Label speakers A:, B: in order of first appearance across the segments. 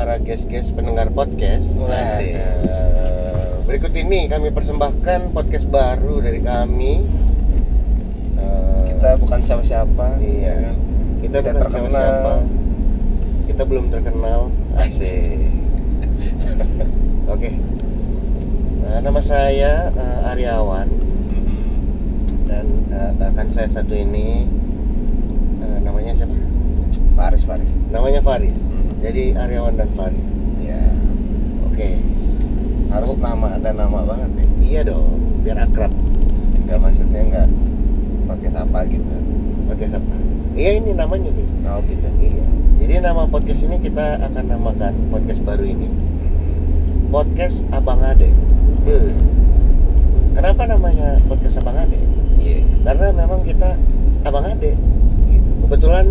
A: podcast pendengar podcast. Nah,
B: Asik.
A: eh, berikut ini kami persembahkan podcast baru dari kami. Eh,
B: kita bukan siapa-siapa
A: Iya.
B: ya kan?
A: kita
B: tidak
A: bukan
B: terkenal.
A: siapa-siapa. Kita belum terkenal. Asik. Oke. Nah, nama saya eh, Aryawan dan eh, rekan saya satu ini eh, namanya siapa?
B: Faris Faris
A: Namanya Faris. Jadi Aryawan dan Faris.
B: ya
A: Oke.
B: harus nama ada nama banget ya
A: Iya dong, biar akrab.
B: nggak maksudnya nggak pakai sapa gitu
A: podcast apa? Iya ini namanya nih.
B: kalau gitu
A: Iya. Jadi nama podcast ini kita akan namakan podcast baru ini podcast Abang Ade. Beuh. Kenapa namanya podcast Abang Ade?
B: iya
A: Karena memang kita Abang Ade. Gitu. Kebetulan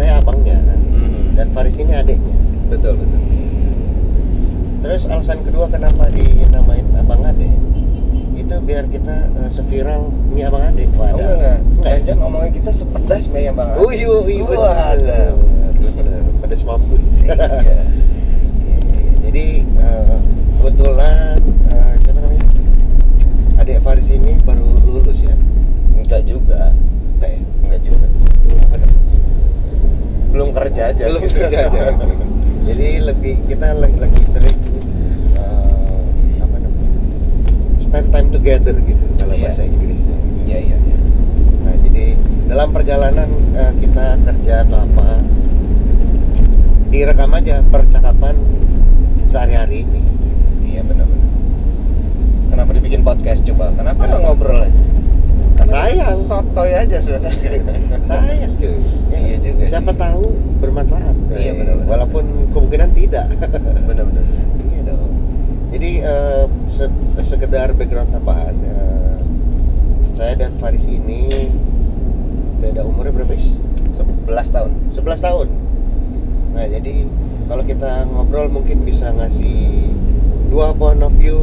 A: saya abangnya kan? dan Faris ini adiknya.
B: betul betul
A: Terus alasan kedua kenapa dinamain Abang Ade? Itu biar kita eh, seviral ini Abang Ade.
B: oh, enggak
A: Wadah.
B: enggak Oh,
A: Enggak.
B: jangan omongan kita sepedas ya, mie yang banget
A: Uyu,
B: iya,
A: uyu,
B: Wadah.
A: Pedas mampus.
B: Iya.
A: jadi eh, kebetulan eh, siapa namanya adik Faris ini baru lulus ya
B: enggak juga
A: enggak ya
B: enggak juga
A: Apa dong?
B: belum kerja aja
A: belum kerja aja jadi lebih kita lagi, lagi sering eh, apa namanya spend time together gitu kalau
B: Iya.
A: bahasa Inggrisnya gitu.
B: iya iya iya.
A: nah jadi dalam perjalanan eh, kita kerja atau apa direkam aja percakapan sehari-hari ini gitu.
B: iya benar-benar kenapa dibikin podcast coba kenapa nggak ngobrol aja
A: Sayang.
B: sotoy aja sebenarnya
A: sayang cuy Ya,
B: Iya juga
A: siapa
B: sih.
A: tahu bermanfaat Eh,
B: Iya, benar-benar.
A: walaupun kemungkinan tidak
B: benar-benar
A: iya dong jadi eh, se- sekedar background tambahan eh, saya dan Faris ini beda umurnya berapa sih
B: 11 tahun
A: 11 tahun nah jadi kalau kita ngobrol mungkin bisa ngasih dua point of view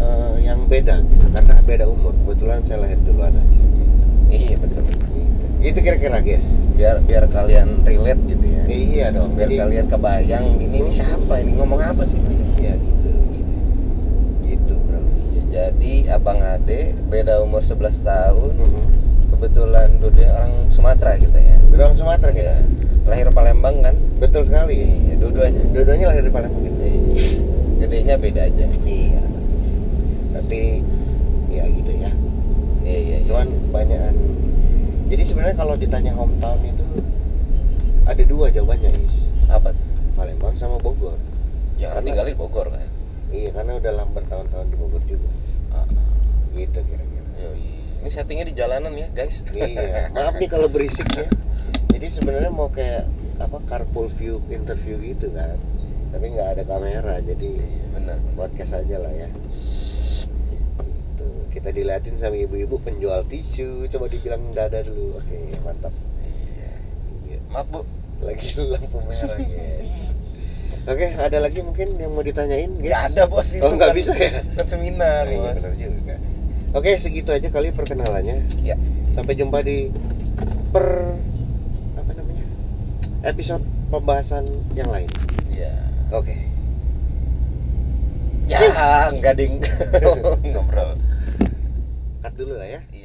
A: eh, yang beda gitu karena beda umur kebetulan saya lahir duluan aja
B: iya betul
A: itu kira-kira guys
B: biar biar kalian relate gitu ya
A: iya dong
B: biar
A: jadi-
B: kalian kebayang ini ini siapa ini ngomong apa sih ini?
A: Iya gitu, gitu, gitu bro.
B: Iya, jadi abang Ade beda umur 11 tahun
A: Mhm.
B: kebetulan Dude orang Sumatera kita ya
A: Orang Sumatera kita,
B: Iya. lahir Palembang kan
A: betul sekali.
B: iya dua-duanya
A: Dua-duanya lahir di Palembang gitu.
B: Iya. gedenya beda aja
A: Iya. Tapi ya gitu ya.
B: iya iya iya.
A: Cuman banyakan. Jadi sebenarnya kalau ditanya hometown itu ada dua jawabannya is
B: apa tuh
A: Palembang sama Bogor.
B: yang
A: Karena-
B: tinggal di Bogor kan
A: Iya karena udah lama bertahun-tahun di Bogor juga. Gitu kira-kira.
B: Yoi. Iya, ini settingnya di jalanan ya guys
A: iya maaf nih kalau berisik ya jadi sebenarnya mau kayak apa carpool view interview gitu kan tapi nggak ada kamera jadi
B: Iya, benar
A: podcast aja lah ya gitu kita dilatin sama ibu-ibu penjual tisu coba dibilang dada dulu oke mantap iya
B: maaf bu
A: lagi lampu merah guys oke ada lagi mungkin yang mau ditanyain
B: nggak
A: guys
B: ada bos itu
A: oh nggak
B: kan-
A: bisa ya
B: kan seminar
A: Oh, iya,
B: bos
A: benar juga. Oke, segitu aja kali perkenalannya.
B: Ya.
A: Sampai jumpa di per apa namanya? episode pembahasan yang lain.
B: Iya.
A: Oke.
B: Ya, enggak ding. Ngobrol.
A: Cut dulu lah ya.
B: Iya.